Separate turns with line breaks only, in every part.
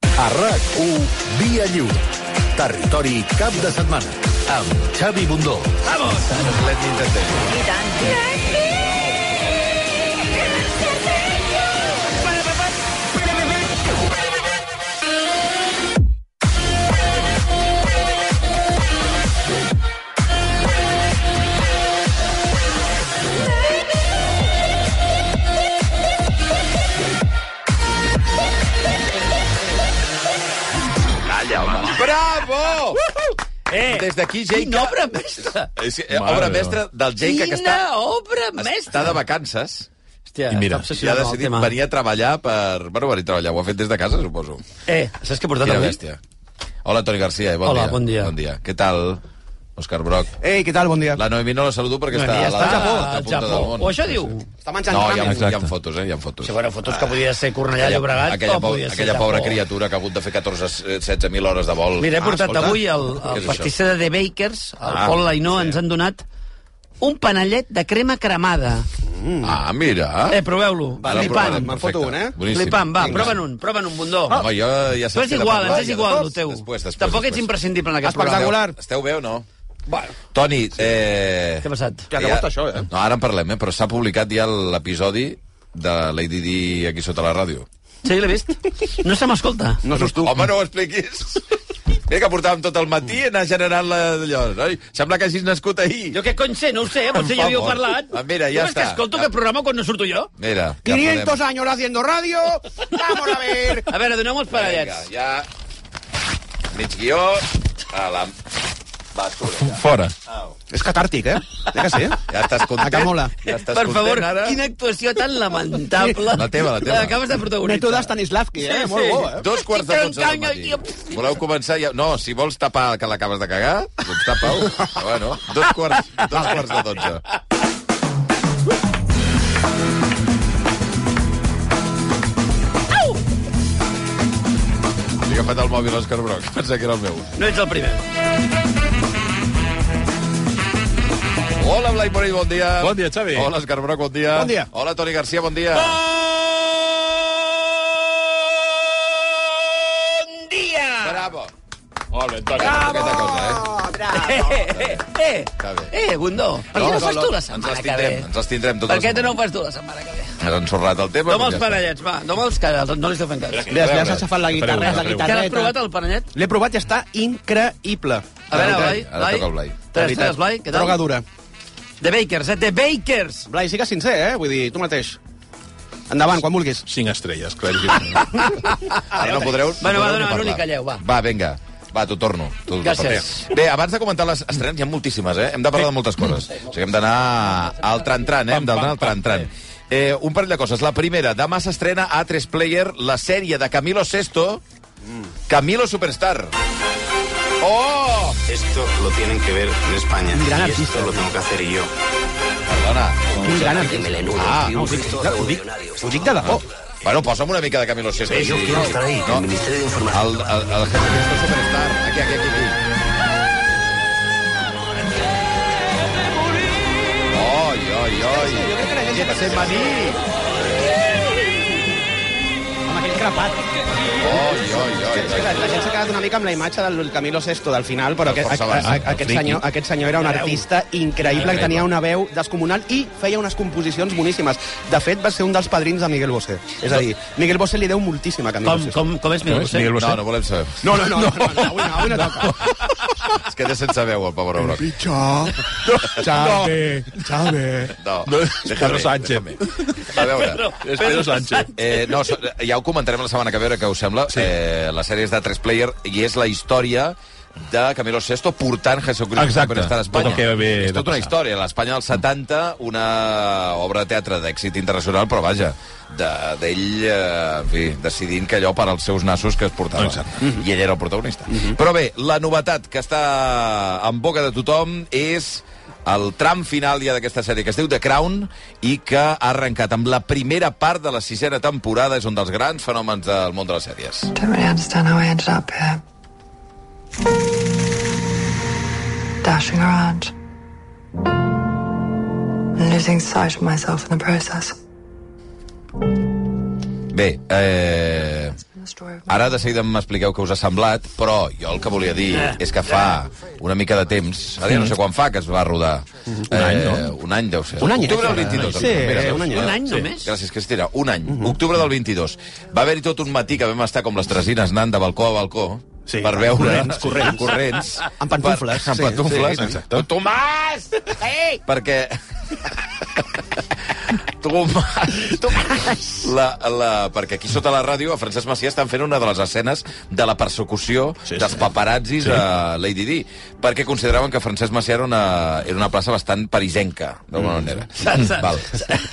A RAC1, Via Lliure. Territori cap de setmana. Amb Xavi Bundó.
Vamos. Let me entertain.
I tant.
Calla, home. Bravo!
Uhuh!
Eh,
Des d'aquí, Jake...
quina obra mestra!
És que, eh,
Mare
obra
meva.
mestra del Jake que
Quina
està,
obra
està
mestra!
de vacances
Hòstia,
I mira,
i ha
està obsessionat amb el
decidit
tema.
venir a treballar per... Bueno, venir a treballar, ho ha fet des de casa, suposo.
Eh, saps què he portat
Quina
avui?
bèstia. Hola, Toni Garcia, bon
Hola,
dia.
bon dia.
Bon dia. Què tal, Òscar Broc?
Ei, què tal? Bon dia.
La Noemi no la saludo perquè
Noemí
està, a la,
està al Japó.
a la punta
Al Japó.
del món.
O això diu.
Està menjant
No, hi ha,
ramen.
hi ha
Exacte.
fotos, eh? Hi ha fotos.
Sí, bueno, fotos que podia ser Cornellà de Llobregat
aquella,
o
po-
podia ser
aquella pobra
Japó.
criatura que ha hagut de fer 14, 16.000 hores de vol. Ah,
Mira, he portat
escolta,
avui el,
què
el
és
pastisser de The Bakers, el
Ah,
Pol Lainó,
sí.
ens han donat un panellet de crema cremada.
això? Ah, mira.
Eh, proveu-lo.
Ah, perfecte.
li
Flipant.
me'n foto un, eh?
Boníssim. Ah.
Flipant, va,
Vinga.
prova'n un, prova'n un bundó.
No, jo ja
Tu
saps
és
que
igual,
demà-
ens és igual, el
Després,
teu.
després, després,
Tampoc
després.
ets imprescindible en aquest programa.
Espectacular.
Esteu bé o no? Bueno. Toni, eh...
Què ha passat?
Que ha acabat això, eh?
No, ara en parlem, eh? però s'ha publicat ja l'episodi de Lady Di aquí sota la ràdio.
Sí, l'he vist? No se m'escolta.
No sos tu.
Home, no ho expliquis. Mira que portàvem tot el matí anar generant la, allò. Noi? Sembla que hagis nascut ahir.
Jo què cony sé, no ho sé, potser
Em fa
ja havíeu
por.
parlat.
Ah, mira, ja
Tu creus que
està.
escolto
Ja.
aquest programa quan no surto jo?
Mira, ja
500
podem.
años haciendo radio. Vamos a ver.
A veure, doneu-me els
Vinga,
parellets.
ja... Mig guió a la basura.
Fora.
És catàrtic, eh? Ja que sí.
Ja estàs content?
Acamola.
Ja estàs
Per favor,
content, ara?
quina actuació tan lamentable.
La teva, la teva.
Acabes de protagonitzar.
Mètode Stanislavski, eh?
Sí,
Molt
sí.
bo, eh?
Dos quarts de
Però
dotze del
encara,
matí.
jo-
Voleu començar ja? No, si vols tapar que l'acabes de cagar, doncs tapa-ho. Però Bueno, dos quarts, dos quarts de dotze. Li he agafat el mòbil Òscar Broc, pensa que era el meu.
No ets el primer.
Hola, Blai Morell, bon dia.
Bon dia, Xavi.
Hola, Òscar Broc, bon dia.
Bon dia.
Hola, Toni Garcia, bon dia.
Bon dia!
Bravo.
Hola, Toni.
Aquesta cosa, eh?
Eh, eh,
Està bé.
eh, Gundó, per què no fas tu la
ens
setmana
les
que ve?
tindrem, ens les tindrem totes
Per què
les
tu no ho
setmanes.
fas tu la setmana que ve?
Has ensorrat el tema.
Dóna
doncs ja
els
està.
panellets, va, dóna els que no li esteu fent cas.
Ja, ja s'ha xafat la guitarra, la
Que l'has
guitarreta.
provat, el panellet?
L'he provat i està
A
increïble.
veure,
Ara
Blai,
toca el Blai.
Te l'estàs, Blai? Què
Droga
tal?
dura.
The Bakers, eh? The Bakers!
Blai, sí que és sincer, eh? Vull dir, tu mateix. Endavant, quan vulguis.
Cinc estrelles, claríssim.
Ara no podreu...
Ah, Bueno,
no
va,
podreu
dona,
parlar.
Manoli, calleu, va.
Va, vinga. Va, t'ho torno. T'ho torno.
Gràcies.
Bé, abans de comentar les estrenes, hi ha moltíssimes, eh? Hem de parlar de moltes coses. O sigui, hem d'anar al tran-tran, eh? Hem d'anar al tran-tran. Eh, un parell de coses. La primera, demà s'estrena a A3 Player la sèrie de Camilo Sesto, Camilo Superstar. Oh!
Esto lo tienen que ver en España.
Gran
y
artista.
esto lo tengo que hacer yo.
Perdona.
Quin gran artista.
Ah,
No, ho dic, ho dic, ho dic de debò.
Bueno, posa'm una mica de Camilo Sesto. Sí,
ahí.
No.
Ministerio de
El, el, el Camilo Sesto Superstar. Aquí, aquí, aquí. aquí. Oi, oi, oi. Getsemaní.
Amb aquell crepat.
Oi, oi, oi.
La la gent s'ha quedat una mica amb la imatge del Camilo Sesto del final, però aquest,
Força
a, a,
avançat,
aquest,
friqui.
senyor, aquest senyor era un artista increïble, que tenia una veu descomunal i feia unes composicions boníssimes. De fet, va ser un dels padrins de Miguel Bosé. És a dir, Miguel Bosé li deu moltíssim a Camilo
Com,
Sesto.
com, com és Miguel Bosé?
Miguel Bosé.
No, no volem saber.
No, no, no, no, no, no, avui no, avui no toca.
Es queda sense veu, el pobre Broc.
Pitjor. Xavi, Xavi.
No,
No,
déjame,
Pedro Sánchez.
A veure...
Pedro-
És Pedro Sánchez.
Eh, no, so- ja ho comentarem la setmana que ve, a veure què us sembla. Sí. Eh, la sèrie és de 3 player i és la història de Camilo Sesto portant Jesucristo
Exacte,
per estar a Espanya.
tot el que ve
és
de
tota una
passar.
història. L'Espanya dels 70, una obra de teatre d'èxit internacional, però vaja, de- d'ell, de, eh, en fi, decidint que allò per als seus nassos que es portava. Mhm.
Exacte.
I ell era el protagonista. Però bé, la novetat que està en boca de tothom és el tram final ja d'aquesta sèrie que es diu The Crown i que ha arrencat amb la primera part de la sisena temporada. És un dels grans fenòmens del món de les sèries.
Don't really understand how I ended up here. Dashing around. And losing sight of myself in the process.
Bé, eh,
the story of my
Ara de seguida m'expliqueu què us ha semblat, però jo el que volia dir és que fa una mica de temps, ara ja no sé quan fa que es va rodar. Un any, no? Un any deu ser.
Un any,
Octubre
eh?
del 22.
Sí,
mira,
un any. eh? Mm-hmm.
Un any només?
Gràcies, Cristina. Un any. Octubre del 22. Va haver-hi tot un matí que vam estar com les tresines anant de balcó a balcó
Sí,
per veure...
corrents, corrents.
corrents
Amb pantufles,
Per, amb
sí,
pantufles.
sí, exacte.
Tomàs! Ei! Perquè... Tomàs, Tomàs. La, la, perquè aquí sota la ràdio a Francesc Macià estan fent una de les escenes de la persecució
Sí,
sí,
sí.
dels paparazzis sí. a Lady Di, perquè consideraven que Francesc Macià era una, era una plaça bastant parisenca, d'alguna manera. Mm,
saps?
Val.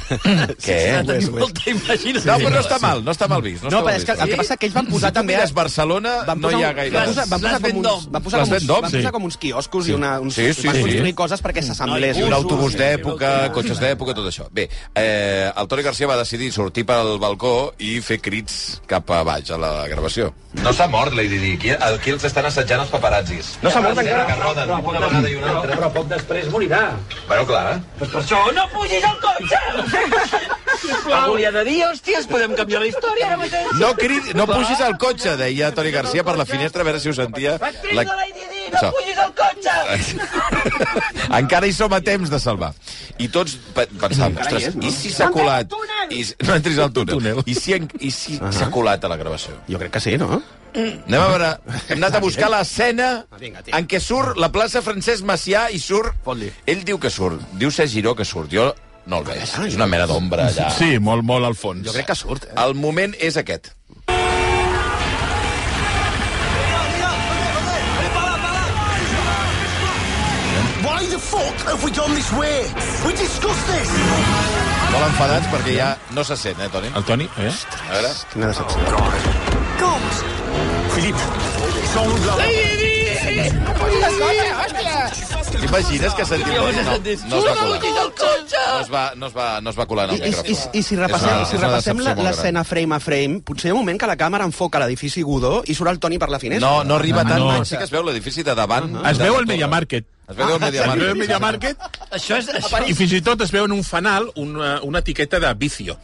Què?
S'ha de tenir molta imaginació.
No, però no està mal, no està mal vist. No està
No,
mal
però és que
vist.
el que passa que ells van posar
si
també...
Si Barcelona,
Van
no
posar
hi ha
un-
gaire...
Van posar, van posar,
Les
com,
vendom.
uns, van posar,
Les
com, uns,
vendom,
van
sí.
posar com uns quioscos i una, uns,
Sí, sí,
van
sí.
construir coses perquè s'assemblés.
No, i
un
busos.
autobús d'època, cotxes d'època, tot això. Bé, eh, el Toni Garcia va decidir sortir pel balcó i fer crits cap a baix a la gravació. No s'ha mort, Lady Di. Aquí, aquí els estan assetjant els paparazzis. No s'ha mort encara. Que roden una vegada i una altra.
Però poc després morirà.
Bueno, clar.
Pues per això no pugis al cotxe! Algú li ha de dir, hòsties, podem canviar la història ara mateix.
No, crit, no pugis al cotxe, deia Toni Garcia per la finestra, a veure si ho sentia.
Actriu
La...
de Lady Di,
Això.
no pugis al cotxe!
Encara hi som a temps de salvar. I tots pe- pensàvem, ostres, i si s'ha colat... I, si- no entris al túnel. I si, en- i si s'ha colat a la gravació?
Jo crec que sí, no?
Anem a veure, hem anat a buscar l'escena
Vinga, tira.
en què surt la plaça Francesc Macià i surt...
Fot-li.
Ell diu que surt, diu ser Giró que surt. Jo no el veig, és una mena d'ombra allà.
Sí, molt, molt al fons.
Jo crec que surt, eh?
El moment és aquest.
Why the fuck have we gone this way? We discussed this!
Molt enfadats perquè ja no se sent, eh, Toni?
El Toni, eh?
A veure...
Quina decepció.
T'imagines que sentim no, no, es va colar.
Pugis al cotxe!
No es va, no es va, no es va colar en
I,
el
i, i,
micròfon.
I si repassem,
És una-
si
és una
repassem
decepció
la-
molt gran.
l'escena frame a frame, potser hi ha un moment que la càmera enfoca l'edifici Godó i surt el Toni per la finestra.
No, no arriba tant,
Ah, no. Ah,
no. sí que es veu l'edifici de davant.
Es
de
veu
la torre.
el Media Market.
Es veu el Media Market.
Es veu el Media Market
Això és... Això...
i fins i tot es veu en un fanal una, una etiqueta de vicio.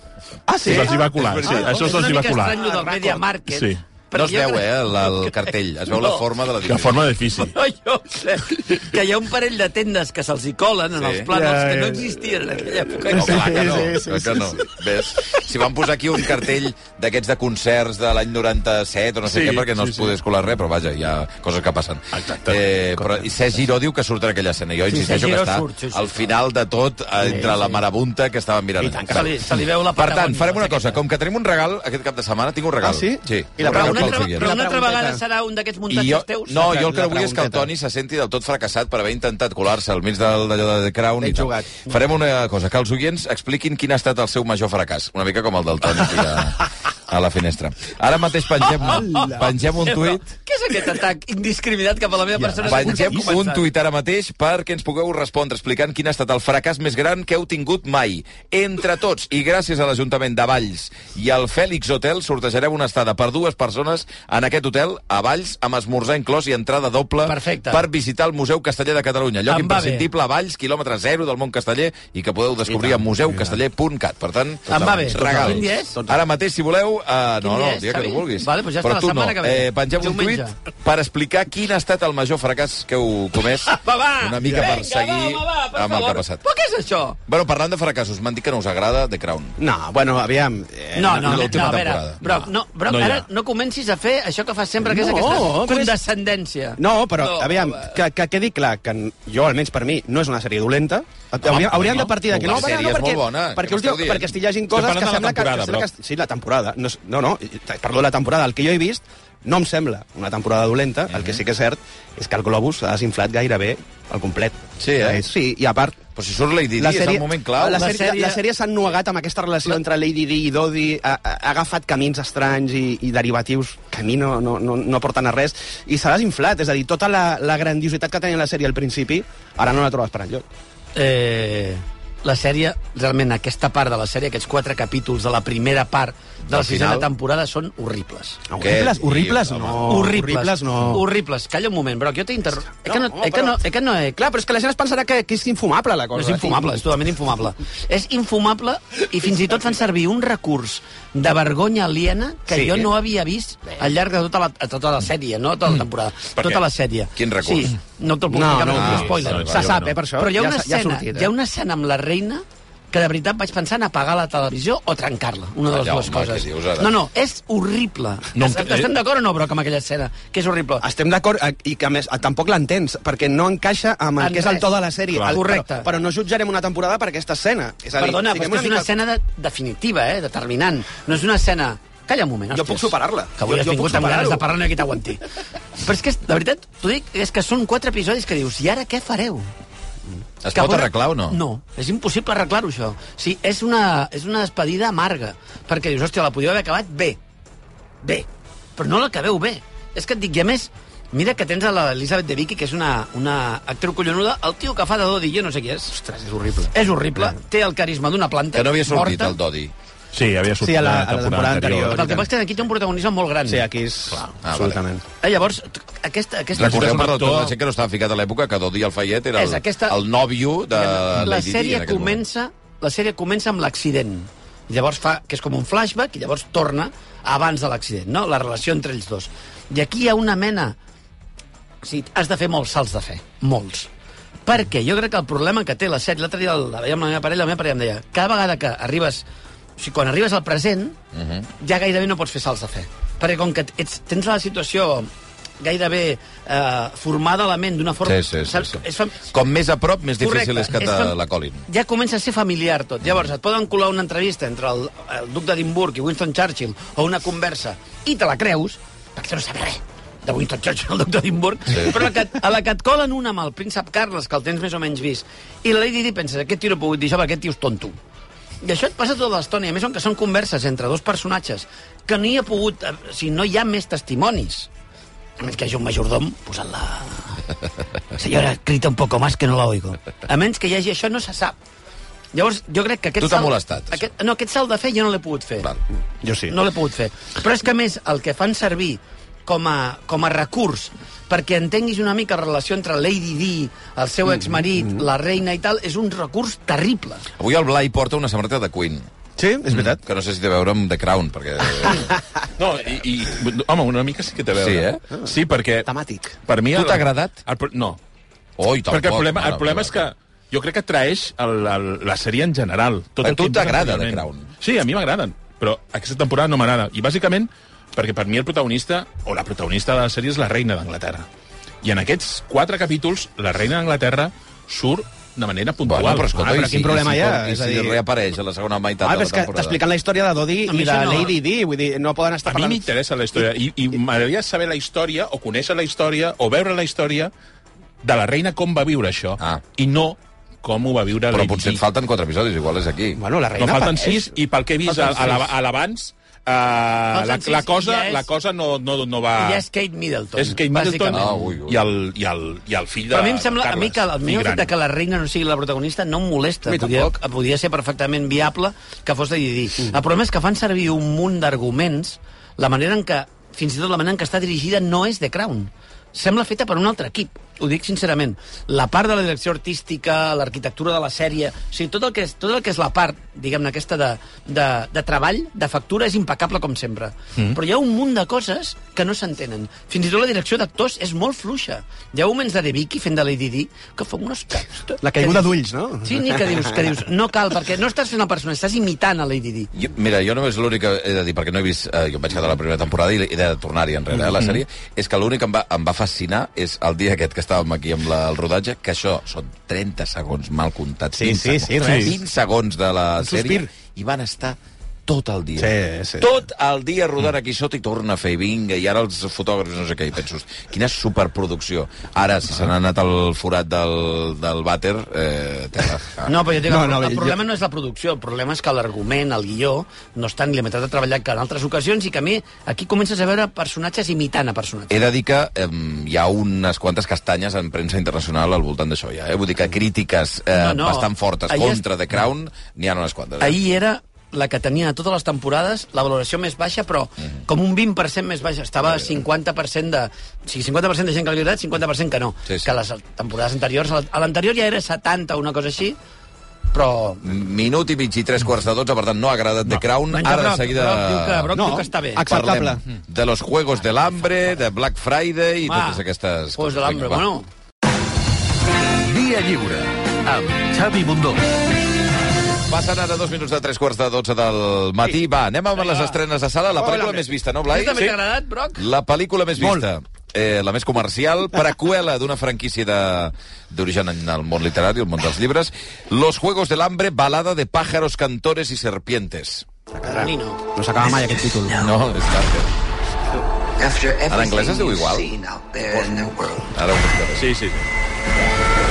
Ah, sí?
Sí, se'ls hi va colar.
és
Sí,
veritat.
això
és una
se'ls hi va
mica
colar.
estrany, allò del Media Market.
Sí.
No es
jo
veu,
crec-
eh, el, el cartell. Es veu la
No.
forma de
Que
l'edifici.
forma d'edifici.
No, jo crec que hi ha un parell de tendes que se'ls hi colen en
Sí.
els plànols
Ja,
que no
ja.
existien en aquella època.
No, clar que no,
Sí, sí, sí,
clar que no. Ves? Si van posar aquí un cartell d'aquests de concerts de l'any 97 o no sé
Sí,
què, perquè no
sí,
es
sí.
podés colar res, però vaja, hi ha coses que passen.
Exacte.
Eh, però Cesc Giró diu que surt en aquella escena. Jo insisteixo
Giró
que està
surt, sí, sí.
al final de tot, eh, entre la marabunta que estàvem mirant.
I tant, que se li- se li veu la
Per tant,
Patagònia,
farem una
aquesta.
cosa. Com que tenim un regal aquest cap de setmana, tinc un regal.
Ah, sí?
Sí.
I la
Un regal pel
Però una, altra,
Xavier.
però una altra
La pregunteta.
vegada serà un d'aquests
I
muntatges
jo,
teus?
no, jo el que
La
no vull és que el
pregunteta.
Toni se senti del tot fracassat per haver intentat colar-se al mig del, d'allò de The Crown i
Ben
tal.
jugat.
Farem una cosa, que els oients expliquin quin ha estat el seu major fracàs, una mica com el del Toni aquí a, a la finestra. Ara mateix pengem, pengem un tuit
Què és aquest atac indiscriminat cap a la meva persona?
Pengem
Com
un
començat?
tuit ara mateix perquè ens pugueu respondre explicant quin ha estat el fracàs més gran que heu tingut mai. Entre tots, i gràcies a l'Ajuntament de Valls i al Fèlix Hotel, sortejarem una estada per dues persones en aquest hotel a Valls amb esmorzar inclòs i entrada doble
Perfecte.
per visitar el Museu Casteller de Catalunya, lloc
Em va
imprescindible a Valls, quilòmetre zero del món casteller i que podeu descobrir a museucasteller.cat. Per tant,
Em va bé.
regal.
Quin dia és?
Ara mateix, si voleu, uh, no,
Quin
no,
dia
el dia
és,
que tu
Xavi?
vulguis.
Vale, doncs ja està,
Però
la
tu no.
setmana que ve.
Eh, pengem un
Diumenge.
tuit per explicar quin ha estat el major fracàs que heu comès.
Va, va!
Una mica
Vinga,
per seguir
va, va, va, per
amb el que ha
favor.
passat.
Però què és això?
Bueno, parlant de fracassos, m'han dit que no us agrada The Crown.
No, bueno, aviam... Eh,
No, no, no,
l'última
a veure,
temporada.
Broc, no, Broc,
No hi ha.
ara no comencis a fer això que fas sempre, que és
No,
aquesta
però és-
condescendència.
No, però,
No,
aviam,
home.
que, que quedi clar que n- jo, almenys per mi, no és una sèrie dolenta. Hauríem, hauríem de partir d'aquí.
La
bueno,
sèrie és
perquè,
molt bona,
Perquè,
què m'esteu
últim,
dient?
perquè estic llegint
Estem
coses
parlant
que
de la
sembla que,
temporada,
que, sembla
però.
que... Sí, la temporada. No, és- no, no, i- perdó, la temporada. El que jo he vist no em sembla una temporada dolenta. El que sí que és cert és que el globus ha desinflat gairebé al complet.
Sí, eh?
Eh, Sí, i a part,
Però si surt Lady Di, és el moment clau.
La
La
sèrie,
sèrie-
la sèrie s'ha ennuegat amb aquesta relació entre Lady Di i Dodi, ha, ha ha agafat camins estranys i, i derivatius que a mi no, no, no, no porten a res, i s'ha desinflat, és a dir, tota la, la grandiositat que tenia la sèrie al principi, ara no la trobes per enlloc.
Eh... la sèrie, realment, aquesta part de la sèrie, aquests quatre capítols de la primera part de la
Del
sisena
final.
temporada són horribles.
Horribles,
Què
horribles,
dius,
no.
horribles.
Horribles, no.
Horribles. Calla un moment, Broc, jo t'interro... No, que no,
home,
eh que no,
però-
eh que no, eh, clar,
Clar, però és que la gent es pensarà que, que és infumable, la
No
cosa. eh?
és infumable, és totalment infumable. És infumable i fins i tot fan servir un recurs de vergonya aliena que
Sí.
sí. jo no havia vist al llarg de tota la, a tota la sèrie, no
Mm.
tota la temporada,
Per
tota
què?
la sèrie.
Quin recurs?
Sí, no te'l puc
No,
explicar
no,
perquè
no,
és un spoiler.
no, no,
Se sap, eh, per això.
Però hi ha una
ja, s'ha- ja
escena,
ha sortit, eh?
hi ha una escena amb la reina que de veritat vaig pensar en apagar la televisió o trencar-la, una de les
Allà,
dues
home,
coses.
què dius ara?
no, no, és horrible. No, Estem d'acord o no, Broc, amb aquella escena? Que és horrible.
Estem d'acord, eh, i que a més eh, tampoc l'entens, perquè no encaixa amb el
En
que és el
res.
to de la sèrie.
Clar.
El-
Correcte.
Però, però no jutjarem una temporada per aquesta escena. És a dir,
Perdona, però
fiquem
és que és una
mica-
escena de, definitiva, eh? determinant. No és una escena... Calla un moment, hòsties.
puc superar-la.
Que avui
Jo-
has
jo puc
vingut amb ganes
superar-ho.
de parlar, no hi ha qui t'aguanti. però és que, de veritat, t'ho dic, és que són quatre episodis que dius, i ara què fareu?
Es
Que
pot
veure-
arreglar o no?
No, és impossible arreglar-ho, això. Sí, és una, és una despedida amarga, perquè dius, hòstia, la podíeu haver acabat bé. Bé. Però no l'acabeu bé. És que et dic, i a més, mira que tens a l'Elisabet de Vicky, que és una, una actriu collonuda, el tio que fa de Dodi, jo no sé qui és. Ostres, és horrible.
Eh,
És horrible. Té el carisma d'una planta.
Que no havia sortit
morta.
el Dodi.
Sí, havia
sortit Sí, a la- a la temporada temporada anterior.
El que passa és que aquí té un protagonisme molt gran.
Sí, aquí és...
Ah,
absolutament.
Eh, llavors, t- aquesta... aquesta
Recordeu per la
actor-
tota la gent que no estava ficat a l'època que Dodi Alfayet era el,
És aquesta-
el nòvio de
la,
Lady Di en
sèrie
aquell moment.
comença, la sèrie comença amb l'accident. I Llavors fa, que és com un flashback, i llavors torna abans de l'accident, no? La relació entre ells dos. I aquí hi ha una mena... O sigui, has de fer molts salts de fe. Molts. Perquè jo crec que el problema que té la sèrie... L'altre dia la veia amb la meva parella, la meva parella em deia cada vegada que arribes... O sigui, quan arribes al present, uh -huh.
Mhm.
ja gairebé no pots fer salts de fe. Perquè com que ets, tens la situació gairebé eh, formada a la ment d'una forma...
Sí, sí, sí,
saps?
sí.
És fam...
Com més a prop, més difícil és que te
fam-
la colin.
Ja comença a ser familiar tot. Llavors, et poden colar una entrevista entre el, el duc d'Edimburg i Winston Churchill o una conversa i te la creus, perquè tu no saps res de Winston Churchill, el duc d'Edimburg, sí. però a la, que, a la que et colen una amb el príncep Carles, que el tens més o menys vist, i la Lady Di penses, aquest tio no he pogut dir això perquè aquest tio és tonto. I això et passa tota l'estona, i a més on que són converses entre dos personatges que no hi ha pogut... eh, O sigui, no hi ha més testimonis. A menys que hi hagi un majordom posant la... Senyora, grita un poco más que no la oigo. A menys que hi hagi això, no se sap. Llavors, jo crec que aquest
Tu t'ha molestat, això.
Aquest, no, aquest salt de fer jo no l'he pogut fer.
Val.
Jo sí.
No l'he pogut fer. Però és que, a més, el que fan servir com a, com a recurs perquè entenguis una mica la relació entre Lady Di, el seu exmarit, la reina i tal, és un recurs terrible.
Avui el Blai porta una samarreta de Queen, Mm,
Sí, és veritat.
que no sé si té a veure amb The Crown, perquè...
No, i, i, home, una mica sí que té a veure.
Sí,
eh? Sí, perquè...
Temàtic.
Per mi...
Tu
el-
t'ha agradat?
El, pro- no,
Oi, tampoc.
perquè el problema,
mare
el problema
meva.
és que jo crec que traeix el, el, la sèrie en general. Tot
A
el
tu
que implica
t'agrada
anteriorment.
The Crown?
Sí, a mi m'agraden, però aquesta temporada no m'agrada. I bàsicament perquè per mi el protagonista, o la protagonista de la sèrie, és la reina d'Anglaterra. I en aquests quatre capítols, la reina d'Anglaterra surt de manera puntual.
Bueno, però escolta,
Ah, però
i
quin problema
i
hi ha?
I
És
si
a dir-
reapareix a la segona meitat de
Ah, però
la
és que
temporada?
t'expliquen la història de Dodi
A
i
mi
de
això no.
Lady Di, vull dir, no poden estar
A mi
parlant...
m'interessa la història i, i m'agradaria saber la història o conèixer la història o veure la història de la reina com va viure això
Ah.
i no com ho va viure
Però
Lady
potser
Di.
et falten quatre episodis, igual és aquí.
Bueno, la
No,
reina
falten
apareix.
sis, i pel que he vist a, a, la- a l'abans, eh, la,
sis,
la, cosa,
ja és-
la cosa no, no, no va...
I ja és Kate Middleton,
Ah. és Kate Middleton
bàsicament.
Ah, ui, ui.
i, el, i, el, i el fill de
Però a mi em sembla,
Carles,
a mi que el millor fet de que la reina no sigui la protagonista no em molesta.
A mi
Podia,
tampoc.
podia ser perfectament viable que fos de Didi. Mm. El problema és que fan servir un munt d'arguments, la manera en què, fins i tot la manera en què està dirigida no és de Crown. Sembla feta per un altre equip, ho dic sincerament. La part de la direcció artística, l'arquitectura de la sèrie, o sigui, tot el que és, tot el que és la part, diguem-ne, aquesta de, de, de treball, de factura, és impecable com sempre. Mm. Però hi ha un munt de coses que no s'entenen. Fins i tot la direcció d'actors és molt fluixa. Hi ha moments de De Vicky fent de Lady Di que fa unes...
La caiguda d'ulls, no?
Sí, ni que dius, que dius, no cal, perquè no estàs fent el personatge, estàs imitant a Lady Di.
Jo, mira, jo només l'únic que he de dir, perquè no he vist... Eh, jo em vaig quedar a la primera temporada i he de tornar-hi enrere, eh,
Mhm.
la sèrie, és que l'únic que em va, em va fascinar és el dia aquest que estàvem aquí amb la, el rodatge, que això són 30 segons mal comptats,
Sí,
20
sí, sí,
segons,
res.
20 segons de la
Un
sèrie,
sospir.
i van estar tot el dia.
Sí, sí.
Tot el dia rodant aquí sota i torna a fer, i vinga, i ara els fotògrafs no sé què, i penso, hosti, quina superproducció. Ara, si se n'ha anat al forat del, del vàter, eh, tela. Ah.
No, però jo dic,
No,
no, no,
no,
el
jo-
problema no és la producció, el problema és que l'argument, el guió, no és tan limitat a treballar que en altres ocasions i que a mi aquí comences a veure personatges imitant a personatges.
He de dir que eh, hi ha unes quantes castanyes en premsa internacional al voltant d'això, ja. Eh? Vull dir que crítiques eh,
Mm. No, no.
bastant fortes
Ahir es-
contra The Crown n'hi ha unes quantes. Eh?
Ahir era la que tenia de totes les temporades la valoració més baixa, però
Mhm.
com un 20% més baixa. Estava 50% de... O sigui, 50% de gent que li agradat, 50% que no.
Sí, sí.
Que les temporades anteriors... a la- A l'anterior ja era 70 o una cosa així, però...
Minut i mig i tres quarts de dotze, per tant, no ha agradat The Crown.
Menja
Ara, de
Brock,
seguida...
Brock diu que, Brock
No,
diu que està bé.
ac- Acceptable.
Parlem de los Juegos del Hambre, de Black Friday i
Va,
totes aquestes
Pues de l'hambre,
Vinga, va.
bueno...
Via lliure amb Xavi Bundó.
Passen ara dos minuts de tres quarts de dotze del matí. Va, anem amb les estrenes de sala. La pel·lícula més vista, no, Blai?
Aquesta també t'ha agradat, Brock?
La pel·lícula més vista. Eh, la més comercial, preqüela d'una franquícia de- d'origen en el món literari, el món dels llibres. Los Juegos del Hambre, balada de pájaros, cantores i serpientes.
Nino.
No s'acaba mai aquest títol.
No, és clar.
After
En anglès es diu igual. Ara ho buscaré.
Sí, sí.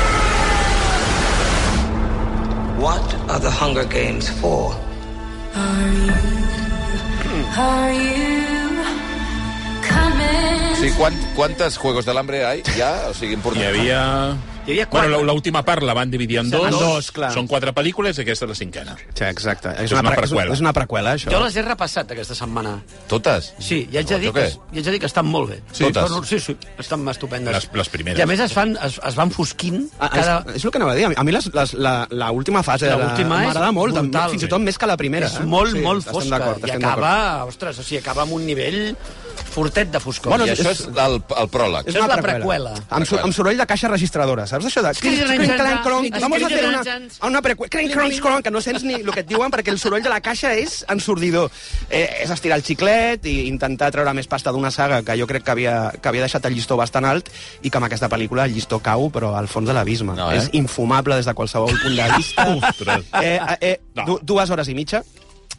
What are the Hunger Games for?
Are you coming?
Sí, quant, quantes Juegos del Hambre hi ha? Ja? O sigui, important.
Hi havia...
Hi havia quatre.
Bueno, la- l'última part la van dividir en dos.
En dos, clar.
Són quatre pel·lícules i aquesta és la cinquena.
Sí, exacte. És
una
una, pre-
preqüela.
És una preqüela, això.
Jo les he repassat aquesta setmana.
Totes?
Sí, i haig de
No, Doncs
dir,
jo
que,
què?
i haig de dir que estan molt bé.
Sí, totes.
Però, sí, sí, estan estupendes.
Les- les
I
primeres.
a més es, fan, es, es van fosquint
Ah,
cada...
és, és el que anava a dir. A mi les, les, la, la última fase de la-
L'última és
m'agrada molt, també,
brutal.
fins i tot més que la primera.
és
eh?
molt,
Sí,
molt
estem
fosca.
d'acord,
I
estem
acaba,
d'acord.
ostres, o sigui, acaba amb un nivell fortet de foscor.
Bueno,
I això és el, el pròleg.
Això és la preqüela.
Amb, so, amb soroll de caixa registradora, saps això de...
que
crinc,
tenen
crinc,
gens,
clanc, clonc,
és que
Vamos a hacer
tenen
una,
gens.
a una preqüela... Cranc, cronc, cronc, que no sents ni el que et diuen perquè el soroll de la caixa és ensordidor. Eh, és estirar el xiclet i intentar treure més pasta d'una saga que jo crec que havia, que havia deixat el llistó bastant alt i que amb aquesta pel·lícula el llistó cau, però al fons de l'abisme.
No, eh?
És infumable des de qualsevol punt de vista.
Ostres.
eh, eh,
No.
du dues hores i mitja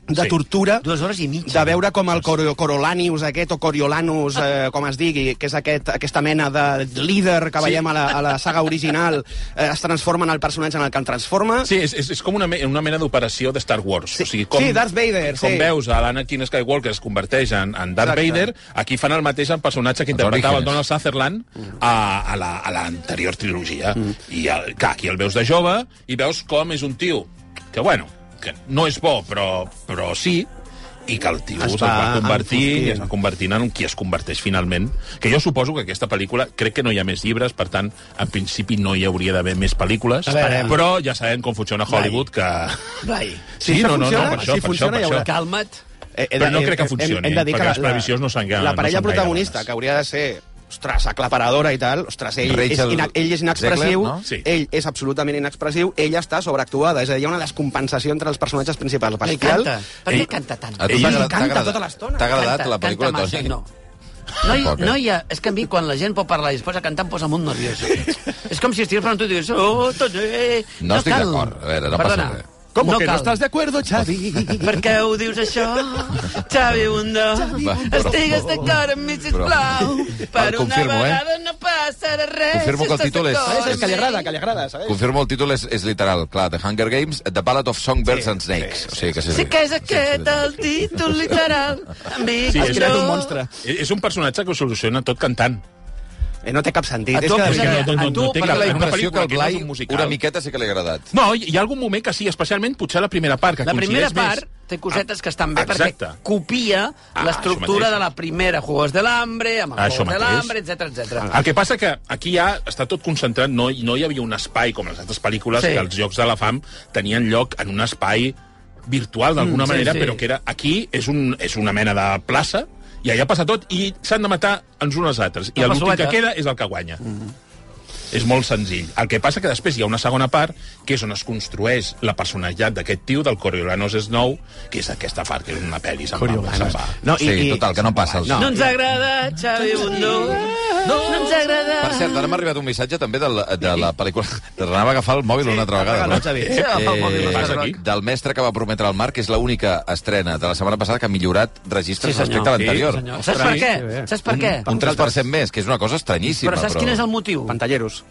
de
Sí.
tortura
Dues hores i mitja.
de veure com el Coro Corolanius aquest, o Coriolanus, eh, com es digui, que és aquest, aquesta mena de líder que veiem a la, a la saga original, eh, es transforma en el personatge en el que el transforma.
Sí, és, és, és com una, me- una mena d'operació de Star Wars.
Sí, sí, Darth Vader,
Com
sí.
veus a l'Anakin Skywalker es converteix en, en Darth
Exacte.
Vader, aquí fan el mateix el personatge que
Els
interpretava el
orígens.
Donald Sutherland a, a la- a l'anterior trilogia.
Mm.
I el, clar, aquí el veus de jove i veus com és un tio que, bueno, que no és bo, però, però sí, i que el tio
Es
es,
va
va convertir
enfosquint.
i es va convertint en qui es converteix finalment. Que jo suposo que aquesta pel·lícula, crec que no hi ha més llibres, per tant, en principi no hi hauria d'haver més pel·lícules,
A veure.
però ja sabem com funciona Hollywood, que...
Vai,
Sí,
Si això
no, no, no,
funciona,
per això,
si
per això,
funciona,
per
hi haurà
això.
calma't.
Eh, he de-
Però no
eh,
crec que
hem-
funcioni,
hem de dir
perquè
que
les previsions no són gaire-
La
no
parella
són gaire
protagonista,
bones.
que hauria de ser ostres, aclaparadora i tal, ostres, ell,
Rachel
és, ina ell és inexpressiu,
Zegler, no?
Sí.
ell és absolutament inexpressiu, ella està sobreactuada, és a dir, hi ha una descompensació entre els personatges principals.
Ell
Pascal, eh,
canta. Per què canta tant?
A tu
Ell
t'ha agradat-
canta
t'ha agradat-
tota l'estona.
T'ha agradat
Canta,
la pel·lícula,
canta massa,
Toni?
No. No hi,
Tampoc, eh?
no hi ha... És que a mi, quan la gent pot parlar i es posa a cantar, em posa molt nerviós. és com si estigués parlant tu i digués... Oh, tot, eh.
No estic
cal.
d'acord. A veure, no passa
Perdona,
res.
Com que no
cal.
estàs d'acord, Xavi?
Per què ho dius, això? Xavi Bundó,
Va, però-
estigues d'acord amb mi, sisplau.
Però-
Per
El
una
confirmo, eh?
vegada no passarà res.
Confirmo que el
si estàs
títol és-
d'acord
Saps el que li
amb
agrada,
mi.
que li agrada, saps?
Confirmo, el títol és, és literal, clar, The Hunger Games, The Ballad of Songbirds sí, and Snakes. Sí, sí, o sigui que sí,
Sí que és aquest el títol literal. Amic, sí,
Sí, és-
Has creat un monstre.
És és un personatge que ho soluciona tot cantant.
Eh, no té cap sentit.
A
És
tu
que,
em
de
És que
veritat-
sembla-
no, no,
a
no,
tu,
té
Tinc
cap-
la
en una
impressió que
pel·lícula
el Blai
no és un
una
musical.
miqueta sí que li ha agradat.
No, hi hi ha algun moment que sí, especialment potser la primera part, que
La primera
coincideix
part
més.
té cosetes
Ah,
que estan bé
Exacte.
perquè copia
Ah,
l'estructura
això mateix.
de la primera Juegos de l'Hambre, amb el
Ah,
Juegos
això
de
mateix.
l'Hambre, etc
Ah,
etc.
El que passa que aquí ja està tot concentrat, no, hi- no hi havia un espai com les altres pel·lícules,
Sí.
sí. que els Jocs de la Fam tenien lloc en un espai virtual d'alguna
Mm, sí,
mm, manera,
sí.
sí, sí. però que era aquí és, un, és una mena de plaça i allà passa tot i s'han de matar els uns als altres. I
La
l'últim
passoleta.
que queda és el que guanya. Mm. És molt senzill. El que passa que després hi ha una segona part que és on es construeix la personalitat d'aquest tio, del Coriolanus Snow, que és aquesta part, que és una pel·li. Se'n va, se'n va.
No, i, sí, total, que no passa. Els... No.
No ens agrada, Xavi Bundó. No, no ens agrada.
Per cert, ara m'ha arribat un missatge també de la, de la pel·lícula... Te l'anava a agafar el mòbil una altra vegada.
no,
però-
Xavi. Sí,
eh,
agafa el mòbil,
Passa
Xavi.
aquí.
del mestre que va prometre al Marc, que és l'única estrena de la setmana passada que ha millorat registres
Sí, senyor.
respecte a l'anterior.
Senyor, Saps per què? Saps per què?
un 3% més, que és una cosa estranyíssima.
Però saps quin és el motiu?
Pantalleros.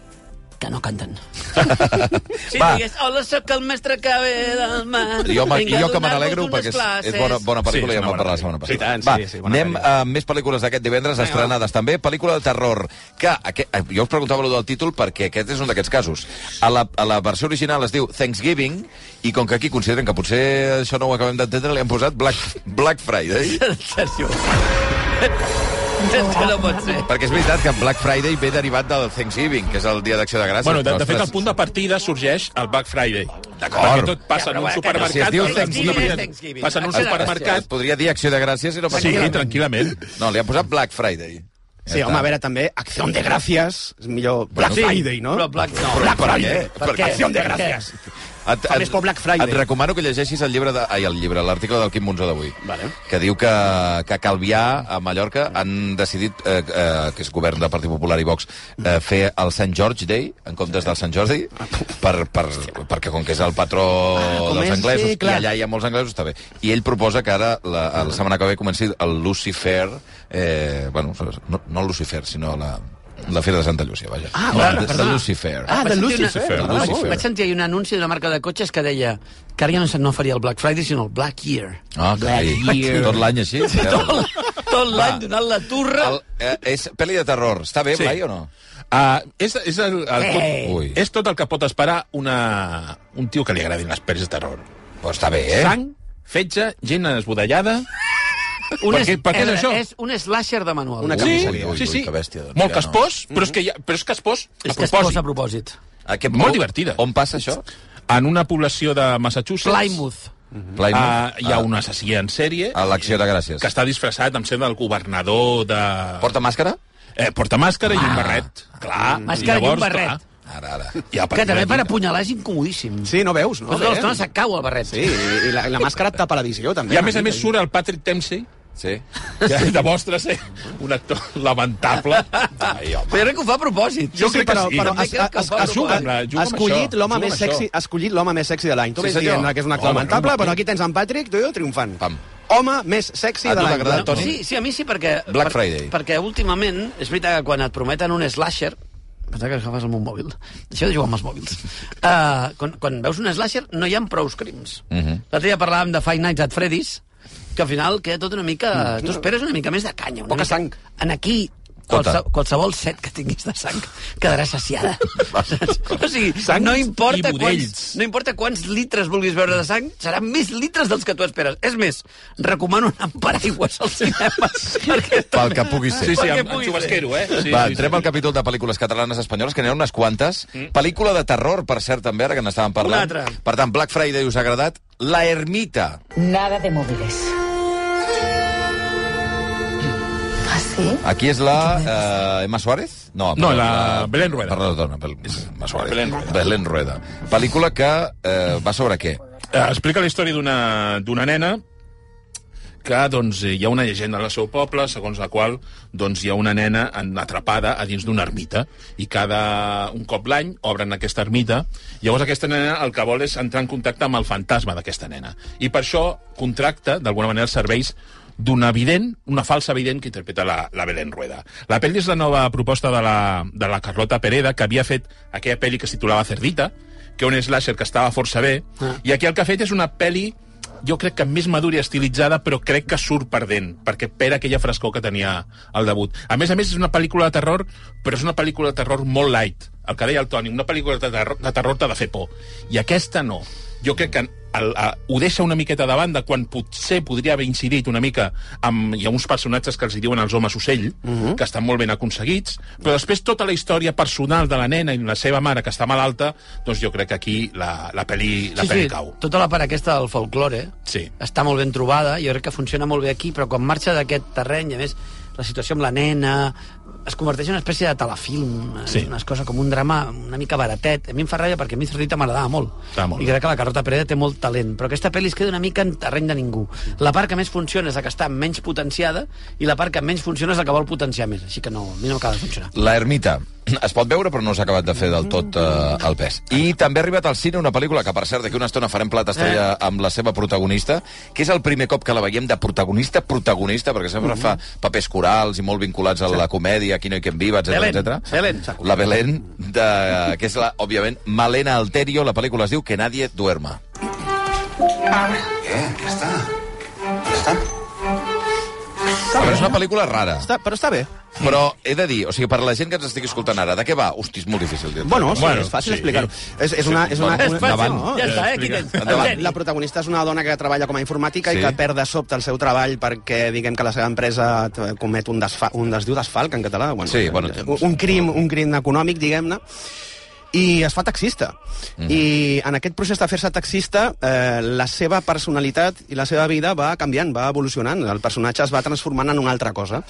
Que no canten. Si
Va.
digués, hola, sóc el mestre que ve del mar.
Jo, me-
Vinc a
jo que me
donar-vos
n'alegro
unes
perquè és, és
classes."
bona, bona pel·lícula sí,
Sí, és
i en vam
una bona
parlar la setmana passada.
I tant, sí,
va,
sí, bona
anem
pel·lícula.
a més pel·lícules d'aquest divendres estrenades també. Pel·lícula de terror, que aquest, eh, jo us preguntava allò del títol perquè aquest és un d'aquests casos. A la, a la versió original es diu Thanksgiving i com que aquí consideren que potser això no ho acabem d'entendre, li han posat Black, Black Friday.
Sergio. És que no pot ser.
Perquè és veritat que Black Friday ve derivat del Thanksgiving, que és el dia d'acció de gràcies.
Bueno, de,
però,
de fet,
ostres,
el punt de partida sorgeix al Black Friday.
D'acord.
Perquè tot passa
Ja,
en
però
un
que no
supermercat...
si es diu
però en un
Thanksgiving, Ah,
supermercat-
és Thanksgiving.
Passa en un
Acció de
Es
supermercat...
podria dir acció de gràcies i no passa
Sí,
res.
tranquil·lament.
No, li han posat Black Friday.
Sí, home, a veure, també, Acción de Gràcies, és millor Black
Sí,
Friday, no?
Però Black no.
Però per què?
Per
Per
què?
què?
Acción de
Per què?
Gràcies.
Et,
Fa més por Black Friday.
Et recomano que llegeixis el llibre, de, ai, el llibre, l'article del Quim Monzó d'avui, vale. que diu que, que a Calvià, a Mallorca, han decidit, eh, eh, que és govern del Partit Popular i Vox, eh, fer el Sant George Day, en comptes del Sant Jordi, per, per, perquè com que és el patró
Ah, com
dels
és,
anglesos,
sí, clar.
i allà hi ha molts anglesos, està bé. I ell proposa que ara, la, la setmana que ve, comenci el Lucifer, eh, bueno, no, no el Lucifer, sinó la, la Fira de Santa Llúcia, vaja. Ah,
va,
de, de
perdó.
Lucifer.
Ah,
Vaig
de
sentir Una...
Lucifer.
De
Vaig-
Lucifer.
Vaig sentir ahir un anunci d'una marca de cotxes que deia que ara ja no, se- no faria el Black Friday, sinó el Black Year.
Ah,
Black
carai.
Year.
Tot l'any així?
Tot, tot
Va.
l'any donant la turra.
El, eh, és pel·li de terror. Està bé,
Sí.
sí. Blai, o no?
Uh, és, és, el, el tot,
Eh.
Ui.
és tot el que pot esperar una, un tio que li agradin les pel·lis de terror.
Però està bé,
Eh?
eh?
Sang, fetge, gent esbudellada...
Un
per
és-
què- per què és
eh,
això?
És un slasher de manual.
Una
Ui,
Sí,
ui, ui,
sí, sí.
que bèstia, doncs,
Molt
ja no.
caspós, però és que, hi ha, però és caspós a
És que es posa a
propòsit.
propòsit.
Aquest,
Molt divertida.
On passa això?
En una població de Massachusetts
Plymouth.
Blai,
uh,
no?
hi ha un assassí en sèrie
A l'acció de gràcies.
que està disfressat, em sembla, del governador de...
Porta màscara?
Eh, porta màscara i un barret. Clar,
Ah. Màscara i un barret.
Ara, ara.
Clar, ja,
Que també per apunyalar és incomodíssim.
Sí, no veus, no?
Tota l'estona se't cau el barret.
Sí, i la, la màscara et tapa la visió, també.
I a més a més surt el Patrick Dempsey,
Sí.
que demostra ser un actor lamentable. Ai, home.
Però jo crec que ho fa a propòsit.
Jo crec que
però,
sí.
però
També
es,
crec que
es,
ho fa
es, juga,
amb la- juga amb
escollit
això,
l'home
juga
més
amb
sexy,
això.
escollit l'home més sexy de l'any. Tu
Sí,
ves
senyor.
dient que és un acte
Home,
lamentable,
no, no.
però aquí tens en Patrick, tu triomfant.
Pam.
Home més sexy
A
de
tu t'ha
l'any.
agradat, Toni?
Sí, sí, a mi sí, perquè...
Black Friday.
Perquè últimament, és veritat que quan et prometen un slasher... Pensava que agafes amb un mòbil. Deixeu de jugar amb els mòbils. Uh, quan, quan veus un slasher no hi ha prous crims. Uh
Mhm.
-huh. L'altre dia parlàvem de Five Nights at Freddy's, que al final queda tot una mica... Tu esperes una mica més de canya. Una
Poca
mica...
sang.
En aquí
Tota.
Qualse, qualsevol set que tinguis de sang quedarà saciada. o sigui,
Sangs
no
i
importa,
budells.
quants, no importa quants litres vulguis veure de sang, seran més litres dels que tu esperes. És més, recomano anar amb paraigües als cinemes. perquè...
Pel que pugui ser.
Sí, sí,
Perquè
amb, amb
pugui
xubasquero, eh? Sí,
Va,
sí,
entrem
sí. Mm.
al capítol de pel·lícules catalanes espanyoles, que n'hi ha unes quantes. Pel·lícula de terror, per cert, també, ara que n'estàvem parlant.
Una altra.
Per tant, Black Friday us ha agradat. La Ermita.
Nada de móviles.
¿Así?
Aquí és la eh, Emma Suárez? No,
No, la Belén Rueda.
Perdó, dona, Bel... Emma Suárez.
Belén Rueda.
Belén Rueda. Pel·lícula que eh, va sobre què?
Eh, explica la història d'una d'una nena que doncs, eh, hi ha una llegenda al seu poble segons la qual doncs, hi ha una nena en- atrapada a dins d'una ermita i cada un cop l'any obren aquesta ermita llavors aquesta nena el que vol és entrar en contacte amb el fantasma d'aquesta nena i per això contracta d'alguna manera els serveis d'una evident, una falsa evident que interpreta la, la Belén Rueda. La pel·li és la nova proposta de la, de la Carlota Pereda, que havia fet aquella pel·li que es titulava Cerdita, que un slasher que estava força bé, ah. i aquí el que ha fet és una pel·li jo crec que més madura i estilitzada, però crec que surt perdent, perquè perd aquella frescor que tenia al debut. A més a més, és una pel·lícula de terror, però és una pel·lícula de terror molt light. El que deia el Toni, una pel·lícula de terror, de terror t'ha de fer por. I aquesta no. Jo crec que el, a, ho deixa una miqueta de banda quan potser podria haver incidit una mica amb, hi ha uns personatges que els hi diuen els homes ocell, uh -huh. que estan molt ben aconseguits, però després tota la història personal de la nena i la seva mare, que està malalta, doncs jo crec que aquí la, la pel·li, la sí, pel·li sí. cau.
Tota la part aquesta del folklore
Sí.
està molt ben trobada, jo crec que funciona molt bé aquí, però quan marxa d'aquest terreny, a més, la situació amb la nena, es converteix en una espècie de telefilm,
Sí.
sí. una cosa com un drama una mica baratet. A mi em fa ràbia perquè a mi Cerdita m'agradava molt.
Estava molt eh?
I
bé.
crec que la Carlota Pereda té molt talent, però aquesta pel·li es queda una mica en terreny de ningú. La part que més funciona és la que està menys potenciada i la part que menys funciona és la que vol potenciar més. Així que no, a mi no m'acaba de funcionar.
La ermita. Es pot veure, però no s'ha acabat de fer del tot eh, el pes. I també ha arribat al cine una pel·lícula que, per cert, d'aquí una estona farem plat estrella
Eh.
amb la seva protagonista, que és el primer cop que la veiem de protagonista a protagonista, perquè
Mhm.
sempre fa papers corals i molt vinculats a la comèdia, Aquí no hi quem viva, etcètera,
Belén,
etcètera.
Belén.
La Belén, de, que és, la, òbviament, Malena Alterio. La pel·lícula es diu Que nadie duerma.
Què? Què està? Què està?
Però és una pel·lícula rara.
Està, però està bé.
Però he de dir, o sigui, per la gent que ens estigui escoltant ara, de què va? Hosti, és molt difícil dir-ho.
Bueno, sí,
Bueno,
és fàcil
sí.
explicar-ho. És, és una... És una,
Bueno,
una,
és fàcil.
No,
ja
eh,
està, eh? Aquí
explica.
tens.
Endavant.
Eugeni.
La protagonista és una dona que treballa com a informàtica
Sí.
sí. i que perd de sobte el seu treball perquè diguem que la seva empresa eh, comet un desfa... un es diu desfalc en català, bueno,
Sí, bueno,
un, un crim, un crim econòmic, diguem-ne i es fa taxista.
Mhm.
Mm. I en aquest procés de fer-se taxista, eh, la seva personalitat i la seva vida va canviant, va evolucionant. El personatge es va transformant en una altra cosa.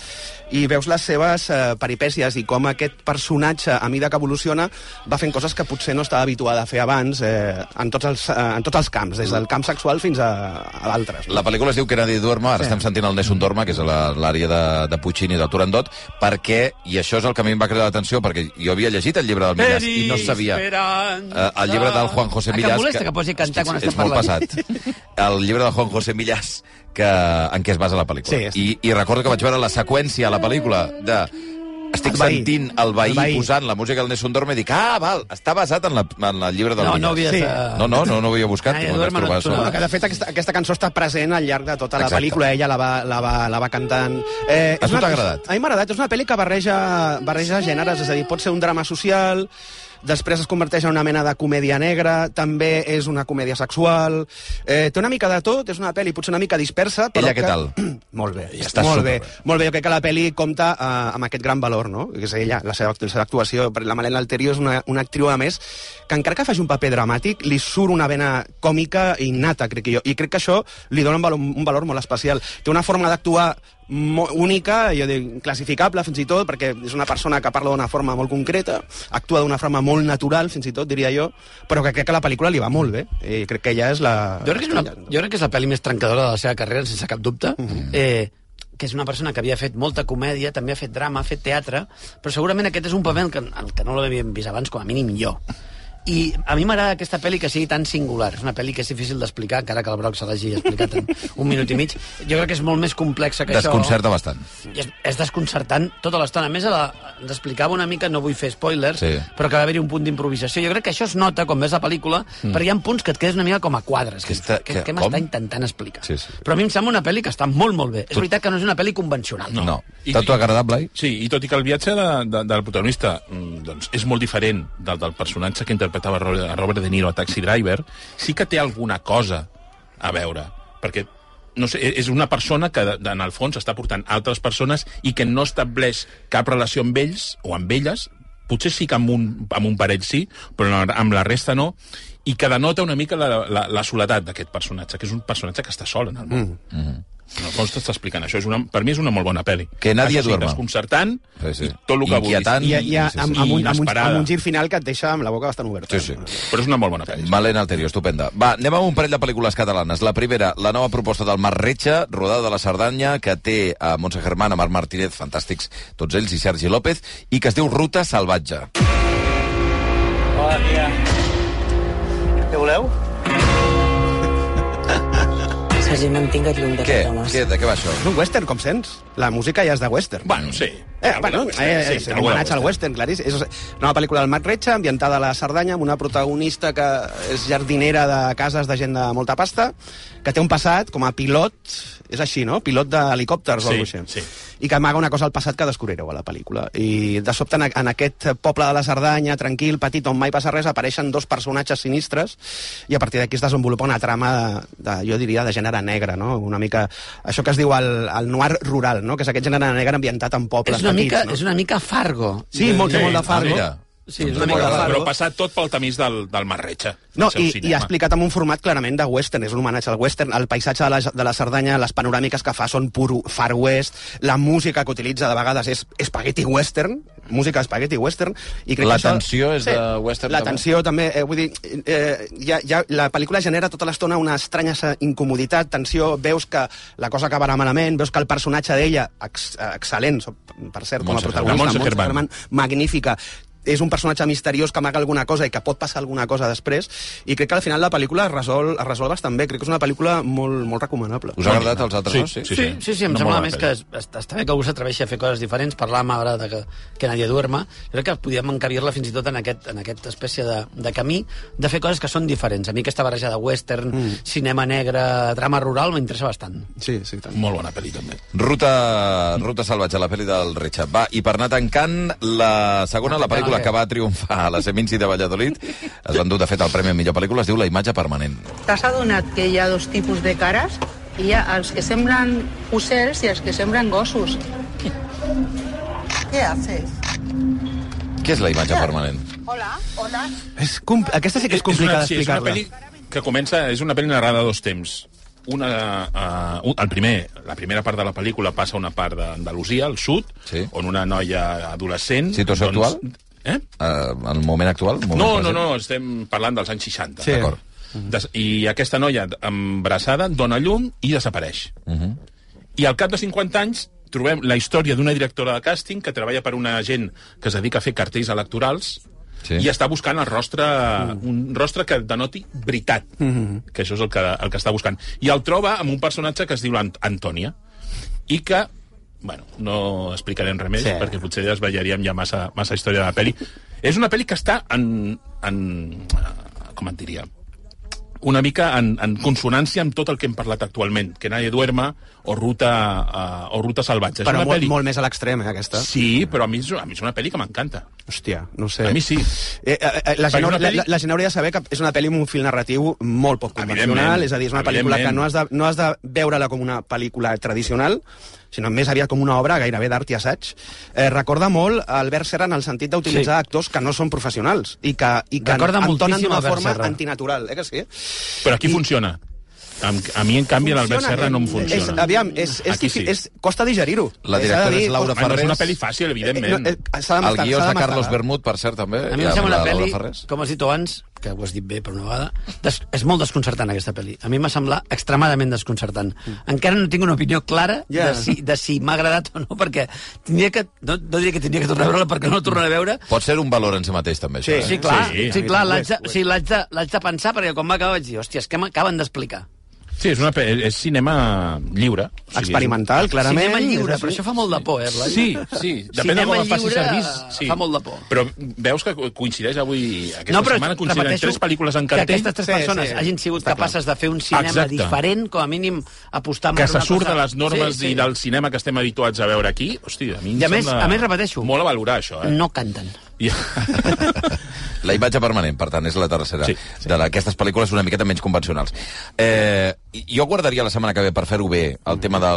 I veus les seves eh, peripècies i com aquest personatge, a mida que evoluciona, va fent coses que potser no estava habituada a fer abans eh, en, tots els, eh, en tots els camps, des del camp sexual fins a, a d'altres.
La pel·lícula es diu que nadie duerma, ara sí. estem sentint el Nessun Dorma, que és a la- l'àrea de, de Puccini del Turandot, perquè, i això és el que a mi em va cridar l'atenció, perquè jo havia llegit el llibre del Millàs i no sabia... Eh, el llibre del Juan José
Ah,
Millàs...
Que em molesta que, posi a cantar quan
és,
estem
és molt
parlant.
passat. El llibre del Juan José Millàs que, en què es basa la pel·lícula.
Sí, és-
I, I recordo que vaig veure la seqüència a la pel·lícula de... Estic
El veí.
mentint el veí,
El veí.
posant la música del Nessun Dorma i dic, ah, val, està basat en, la, en el llibre del
No,
Millàs.
no havia de...
Sí.
No, no, no, no ho havia buscat.
Nadie
m'ho vaig
duerma
trobar
nocturno.
sobre-
No, que de fet aquesta, aquesta cançó està present al llarg de tota la
Exacte.
pel·lícula, ella la va, la va, la va cantant.
A
Eh, és
tu
una-
t'ha agradat?
A mi m'ha agradat, és una pel·li que barreja, barreja gèneres, és a dir, pot ser un drama social, després es converteix en una mena de comèdia negra, també és una comèdia sexual, eh, té una mica de tot, és una pel·li potser una mica dispersa, però
Ella
que...
què tal?
Molt bé, ja
està
molt bé,
superbé.
molt bé. Jo crec que la pel·li compta eh, amb aquest gran valor, no? Que és ella, la seva, la seva actuació. Per La Malena Alterio és una, una actriu, a més, que encara que faci un paper dramàtic, li surt una vena còmica innata, crec que jo. I crec que això li dona un valor, un valor molt especial. Té una forma d'actuar mo- única, jo dic, classificable fins i tot, perquè és una persona que parla d'una forma molt concreta, actua d'una forma molt natural, fins i tot, diria jo, però que crec que la pel·lícula li va molt bé. I crec que ella és la...
Jo crec, que és una, jo crec que és la pel·li més trencadora de la seva carrera, sense cap dubte.
Mm.
eh, que és una persona que havia fet molta comèdia, també ha fet drama, ha fet teatre, però segurament aquest és un paper en el que, en el que no l'havíem vist abans, com a mínim jo. I a mi m'agrada aquesta pel·li que sigui tan singular. És una pel·li que és difícil d'explicar, encara que el Broc se l'hagi explicat en un minut i mig. Jo crec que és molt més complexa que
Desconcerta bastant.
això. I És, és desconcertant tota l'estona. A més, a la, ens explicava una mica, no vull fer spoilers,
Sí.
però que va haver-hi un punt d'improvisació. Jo crec que això es nota quan ves la pel·lícula, mm. però hi ha punts que et quedes una mica com a quadres.
Que
Que,
està-
que,
que-
que, que m'està
com?
intentant explicar.
Sí, sí.
Però a mi em sembla una pel·li que està molt, molt bé. És veritat que no és una pel·li convencional.
No. eh?
I-
T'ha tu agradat, Blai?
Sí, i tot i que el viatge de, de, del protagonista mm, doncs, és molt diferent del del personatge que interpretava Robert, Robert De Niro a Taxi Driver, sí que té alguna cosa a veure, perquè no sé, és una persona que, de- en el fons, està portant altres persones i que no estableix cap relació amb ells o amb elles, potser sí que amb un, amb un parell sí, però amb la- amb la resta no, i que denota una mica la, la, la soledat d'aquest personatge, que és un personatge que està sol en el món. Mm. En el fons t'està explicant això. És una, per mi és una molt bona pel·li.
Que nadie
Això sí,
duerma.
desconcertant,
Sí, sí.
i tot el que
Inquietant.
I,
vulguis.
i,
Sí, sí, sí.
amb, amb, un, amb, un,
Inesperada.
amb un gir final que et deixa amb la boca bastant oberta.
Sí, sí.
Però és una molt bona pel·li.
Malena Alterio, estupenda. Va, anem amb un parell de pel·lícules catalanes. La primera, la nova proposta del Mar Retxa, rodada de la Cerdanya, que té a Montse Germana, Marc Martínez, fantàstics tots ells, i Sergi López, i que es diu Ruta Salvatge.
Hola, tia. Què voleu?
Sergi, mantinga't lluny
Què? Què? De què va això?
És un western, com sents? La música ja és de western.
Bueno, sí.
Eh,
Alguna
bueno,
cosa,
eh, eh, sí, un
alguna
homenatge al
cosa.
western, clarís. És una pel·lícula del Marc Retxa, ambientada a la Cerdanya, amb una protagonista que és jardinera de cases de gent de molta pasta, que té un passat com a pilot, és així, no? Pilot d'helicòpters
Sí,
o alguna cosa així.
sí.
I que amaga una cosa al passat que descobrireu a la pel·lícula. I de sobte, en, en aquest poble de la Cerdanya, tranquil, petit, on mai passa res, apareixen dos personatges sinistres i a partir d'aquí es desenvolupa una trama, de, de, jo diria, de gènere negre, no? Una mica... Això que es diu el, el noir rural, no? Que és aquest gènere negre ambientat en pobles
És una,
petits,
mica,
no?
és una mica Fargo.
Sí, molt,
Sí,
sí, molt de Fargo.
Ah, mira.
Sí, és
Una
una
mica
mica
raro,
raro.
però passat tot pel tamís del, del Marretxa.
No, i, i ha explicat amb un format clarament de western, és un homenatge al western, el paisatge de la, de la Cerdanya, les panoràmiques que fa són puro far west, la música que utilitza de vegades és espagueti western, música espagueti western, i crec
La
que això...
tensió és de western,
La
també.
tensió també, eh, vull dir, eh, ja, ja, la pel·lícula genera tota l'estona una estranya se- incomoditat, tensió, veus que la cosa acabarà malament, veus que el personatge d'ella, ex, eh, excel·lent, so- per cert, com a
Montse
protagonista,
Germán. Montse
Montse
Germán.
Germán, magnífica és un personatge misteriós que amaga alguna cosa i que pot passar alguna cosa després i crec que al final la pel·lícula es resol, es resol bastant bé crec que és una pel·lícula molt, molt recomanable
Us ha agradat els altres
Sí,
dos?
sí,
Sí, sí, sí em
No
no sembla
mola
a més
la
que es- està, està bé que algú s'atreveixi a fer coses diferents. Parlàvem ara de que, que nadie duerma. Jo crec que podíem encabir-la fins i tot en, aquest, en aquesta espècie de, de camí de fer coses que són diferents. A mi aquesta barreja de western, mm. cinema negre, drama rural, m'interessa bastant.
sí, sí, tant.
Molt bona pel·li, també.
Ruta, ruta salvatge, la pel·li del Richard. Va, i per anar tancant, la segona, la pel·lícula que va triomfar a la Seminci de Valladolid, es van dur, de fet, el Premi a Millor Pel·lícula, es diu La imatge permanent.
T'has adonat que hi ha dos tipus de cares? Hi ha els que semblen ocells i els que semblen gossos. Què haces?
Què és La imatge permanent?
Hola, hola.
és compl... aquesta sí que és complicada
sí, Eh, és una
d'explicar-la
pel·li que comença... És una pel·li narrada a dos temps. Una, uh, un, el primer, la primera part de la pel·lícula passa a una part d'Andalusia, al sud,
Sí.
on una noia adolescent...
Situació actual?
Eh?
Uh, el moment actual? Moment
No, no,
present?
no, estem parlant dels anys 60.
Sí.
D'acord.
Des, I aquesta noia embarassada dona llum i desapareix.
Uh -huh.
I al cap de 50 anys trobem la història d'una directora de càsting que treballa per una gent que es dedica a fer cartells electorals
Sí.
sí. i està buscant el rostre, un rostre que denoti veritat, que això és el que, el que està buscant. I el troba amb un personatge que es diu Ant Antònia i que, bueno, no explicarem res més
Sí.
sí. perquè potser ja es ballaríem ja massa, massa història de la peli. és una peli que està en... en com et diria? una mica en, en consonància amb tot el que hem parlat actualment, que Nadie duerma o Ruta, uh, o ruta salvatge. És
però
una
molt,
peli...
molt més a l'extrem eh, aquesta
Sí, però a mi, és, a mi és una pel·li que m'encanta.
Hòstia, no sé.
A mi sí.
Eh, eh, eh, la, gent,
Perquè és una
haurà- la,
pel·li-
la, la gent hauria de saber que és una pel·li amb un fil narratiu molt poc convencional,
Evidentment.
és a dir, és una pel·lícula que
Evidentment.
no has, de, no has de veure-la com una pel·lícula tradicional, sinó més aviat com una obra gairebé d'art i assaig. Eh, recorda molt a Albert Serra en el sentit d'utilitzar sí. actors que no són professionals i que, i que
Recorda
entonen
moltíssim
d'una
Albert
forma
Serra.
antinatural, eh que sí?
Però aquí
I-
I... funciona. A, a mi, en canvi, l'Albert Serra no em
És,
funciona.
aviam, és, és,
Aquí
difí-
sí.
és, costa digerir-ho.
La
És a
directora
dir,
és Laura
Bueno, és una
Ferrés.
pel·li fàcil, evidentment.
eh, eh, s'ha de
El
mastegar,
guió
s'ha
és
de
de Carlos
mastegar.
Bermud, per cert, també.
A mi
Ja,
em sembla una
Eh, la Laura
pel·li,
Ferrés.
com has dit abans, que ho has dit bé per una vegada, des, és molt desconcertant aquesta pel·li. A mi m'ha semblat extremadament desconcertant. Encara no tinc una opinió clara
Ja.
de si, de si m'ha agradat o no, perquè tindria que, no, no diria que tindria que tornar a veure-la perquè no la tornaré a veure,
Pot ser un valor en si mateix, també, això. eh?
Sí, clar,
Sí.
sí, sí clar, l'haig de, sí, l'haig de, l'haig de pensar, perquè quan va acabar vaig dir, hòstia, és que m'acaben d'explicar.
Sí, és, una, pe- és cinema lliure. O sigui,
Experimental, clarament.
Cinema lliure,
és
però
així.
això fa molt de por, eh, Blai?
Sí, sí. Depèn de
Cinema
com el facis
lliure,
servir. Sí.
fa molt de por.
Però veus que coincideix avui... Aquesta setmana coincideixen
repeteixo
tres pel·lícules en
Que
cartell
aquestes tres
Sí,
sí, persones
sí.
sí, hagin sigut
Està clar.
capaces de fer un cinema
Exacte.
Exacte. diferent, com a mínim apostar
que
per
se
una
surt
cosa-
de les normes
sí, sí.
i del cinema que estem habituats a veure aquí, hòstia, a mi em
I a més-
sembla
a més, repeteixo,
Molt a valorar, això, eh?
No canten.
I...
La imatge permanent, per tant, és la tercera sí,
Sí,
sí. d'aquestes pel·lícules una miqueta menys convencionals. Eh, jo guardaria la setmana que ve per fer-ho bé
Mm.
el tema de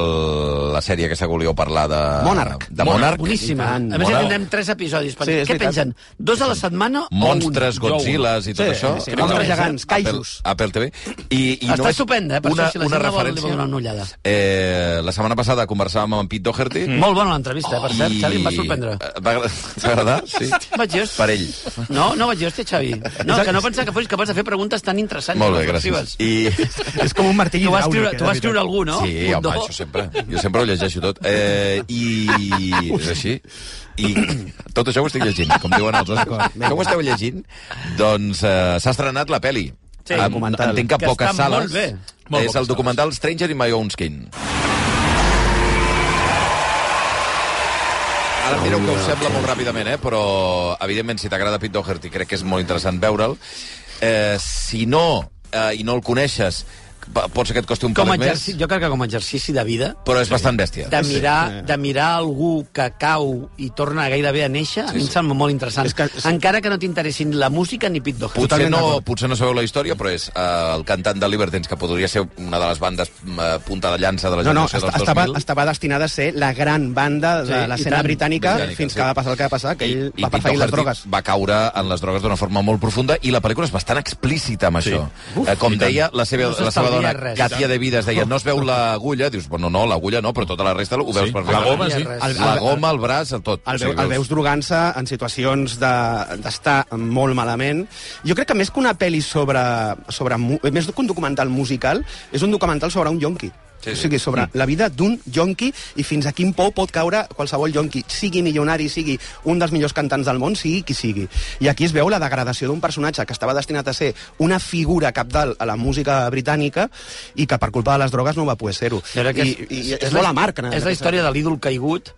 la sèrie que s'ha volíeu parlar de...
Monarch.
De Monarch.
Boníssima.
tant.
A més, ja
Mola.
tindrem tres episodis.
Sí,
Sí,
és
què
veritat.
pensen? Dos a la setmana
Monstres,
Jo un.
Godzillas i tot
Sí,
això.
sí,
Crec
monstres
que no.
gegants, kaijus.
Apple, Apple TV. I, i
Està
només
estupenda, eh? Per això, si la gent la vol, li vol donar una ullada.
Eh, la setmana passada conversàvem amb en Pete Doherty.
o un? Molt bona l'entrevista, eh, per cert. Xavi, em va sorprendre.
Eh, Va agra- t'agradar? Sí.
Vaig dir,
Per ell.
No, no vaig dir, hòstia, Xavi. No, que no pensava que fos capaç de fer preguntes tan interessants.
Molt bé,
i
gràcies.
reflexives.
I
És com un martell
T'ho va escriure,
hidràulic, eh,
t'ho
de
va escriure algú, no?
Sí,
Un
home,
do.
això sempre. Jo sempre ho llegeixo tot. Eh, I és així. I tot això ho estic llegint, com diuen els ostres. Que ho esteu llegint? Doncs eh, s'ha estrenat la peli.
Sí,
Em-
documental.
Entenc que,
Que
a poques
està molt
sales.
bé.
Molt
és
poques
el documental Stranger in My Own Skin. Ara mireu que us sembla molt ràpidament, eh? però evidentment si t'agrada Pete Doherty crec que és molt interessant veure'l. Eh, si no, eh, i no el coneixes, pa- pot ser que et costi un
Com a
parell més,
exercici, jo crec que com a exercici de vida,
però és bastant bèstia.
de mirar, de mirar algú que cau i torna gairebé a néixer, a mi em sembla molt interessant. Encara que no t'interessin la música ni Pete Doherty.
Potser no, potser no sabeu la història, però és eh, el cantant de Libertines, que podria ser una de les bandes eh, punta de llança de la
No, no,
generació
est
dels
estava,
2000.
estava destinada a ser la gran banda de
Sí,
sí,
i
l'escena
tant.
britànica,
Britànica,
britànica fins
sí.
sí. que va passar el que va passar, que ell va
Pete
perseguir les
Doherty
drogues.
va caure en les drogues d'una forma molt profunda i la pel·lícula és bastant explícita amb això. Uf, eh, com
i tant.
deia la seva,
No
la seva
s'estalvia
dona,
res. I
Katia
tant.
de Vides, deia, no es veu l'agulla? Dius, bueno, no, l'agulla no, però tota la resta ho veus
Sí,
perfectament.
la goma, sí.
El-
La
el-
goma, el braç, el tot.
El,
Sí,
veu, el veus drogant-se en situacions de- d'estar de, molt malament. Jo crec que més que una pel·li sobre, sobre... mu- Més que un documental musical, és un documental sobre un yonqui.
Sí,
Sí,
sí.
sí. O sigui,
Mm.
sobre la vida d'un yonqui i fins a quin pou pot caure qualsevol yonqui, sigui milionari, sigui un dels millors cantants del món, sigui qui sigui. I aquí es veu la degradació d'un personatge que estava destinat a ser una figura capdalt a la música britànica i que per culpa de les drogues no va poder ser-ho.
Jo crec
I,
que
i, és, és molt amarg. en
És la
aquest
història de l'ídol caigut,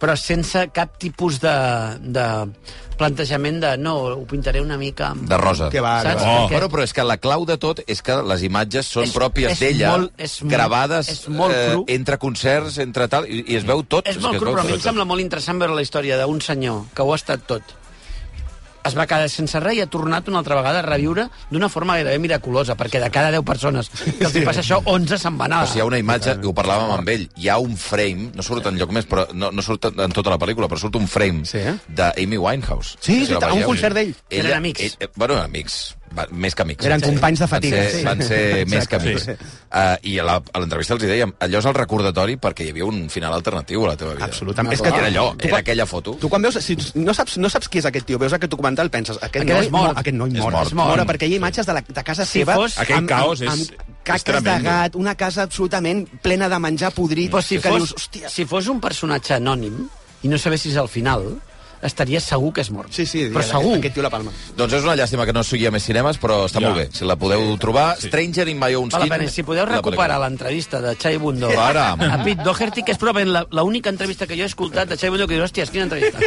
però sense cap tipus de, de plantejament de no, ho pintaré una mica... Amb...
De rosa.
Que va, Saps?
Oh.
Oh.
Però, però és que la clau de tot és que les imatges són
És-
pròpies
és
d'ella,
molt- és molt-
gravades eh,
és molt cru.
entre concerts, entre tal, i, i es veu tot.
És molt
que es
cru,
veu
però a mi
tot.
em sembla molt interessant veure la història d'un senyor que ho ha estat tot. Es va quedar sense res i ha tornat una altra vegada a reviure d'una forma gairebé miraculosa, perquè de cada 10 persones que els hi passa això, 11 se'n van anar.
Però si hi ha una imatge, i ho parlàvem amb ell, hi ha un frame, no surt en lloc més, però no, no surt en tota la pel·lícula, però surt un frame sí, eh? d'Amy Winehouse.
Sí,
No sé si la
sí, a un
veieu.
concert d'ell.
Ella-
Eren amics.
Ell, eh, bueno, amics, va, més que amics.
Eren
Sí.
companys de fatiga,
Van ser,
sí.
van ser més que
Exacte.
amics.
Sí.
Uh, I a la- a l'entrevista els hi dèiem, allò és el recordatori perquè hi havia un final alternatiu a la teva vida.
Absolutament.
És que era allò, era aquella foto.
Ah. Tu quan veus, si no saps, no saps qui és aquest tio, veus aquest documental, penses, aquest,
Aquest
noi,
és mort.
No, aquest noi
És
mort.
mort.
És mort.
Mort.
perquè hi ha imatges de, la, de casa
Si
seva...
fos-
Aquell caos és-
amb,
és
caques de
tremendo.
gat, una casa absolutament plena de menjar podrit,
Però si
que
fos,
dius, hòstia...
si fos un personatge anònim i no sabessis al final, estaries segur que és mort.
Sí, sí,
Però
aquest-
segur.
Aquest tio la palma.
Doncs és una llàstima que no es sigui a més cinemes, però està
Ja.
molt bé. Si la podeu trobar, Stranger in My Own
Val la
Skin...
pena. Si podeu
la
recuperar
pel·lícula.
l'entrevista de Chai Bundó
Ara.
a Pete Doherty, que és probablement la- l'única entrevista que jo he escoltat de Chai Bundó, que dius, hòsties, quina entrevista.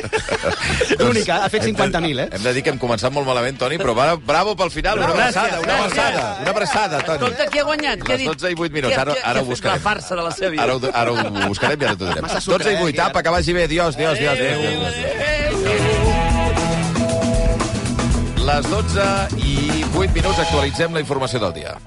L'única, ha fet 50.000, eh?
Hem de dir que hem començat molt malament, Toni, però va, bravo pel final. Una
Gràcies,
abraçada, una
gràcies.
abraçada, una abraçada, Toni.
Escolta, qui ha guanyat? Qui ha
Les
dit?
12 i 8 minuts.
Qui ha-
Ara,
qui ha-
ara
qui ha
ho
fet
buscarem.
La farsa de la seva vida.
Ara ho, ara ho buscarem i ara t'ho direm.
Massa sucre,
12 i 8,
eh,
apa, que vagi bé. Adiós, adiós, adiós. adiós, adiós, Les 12 i 8 minuts actualitzem la informació del dia.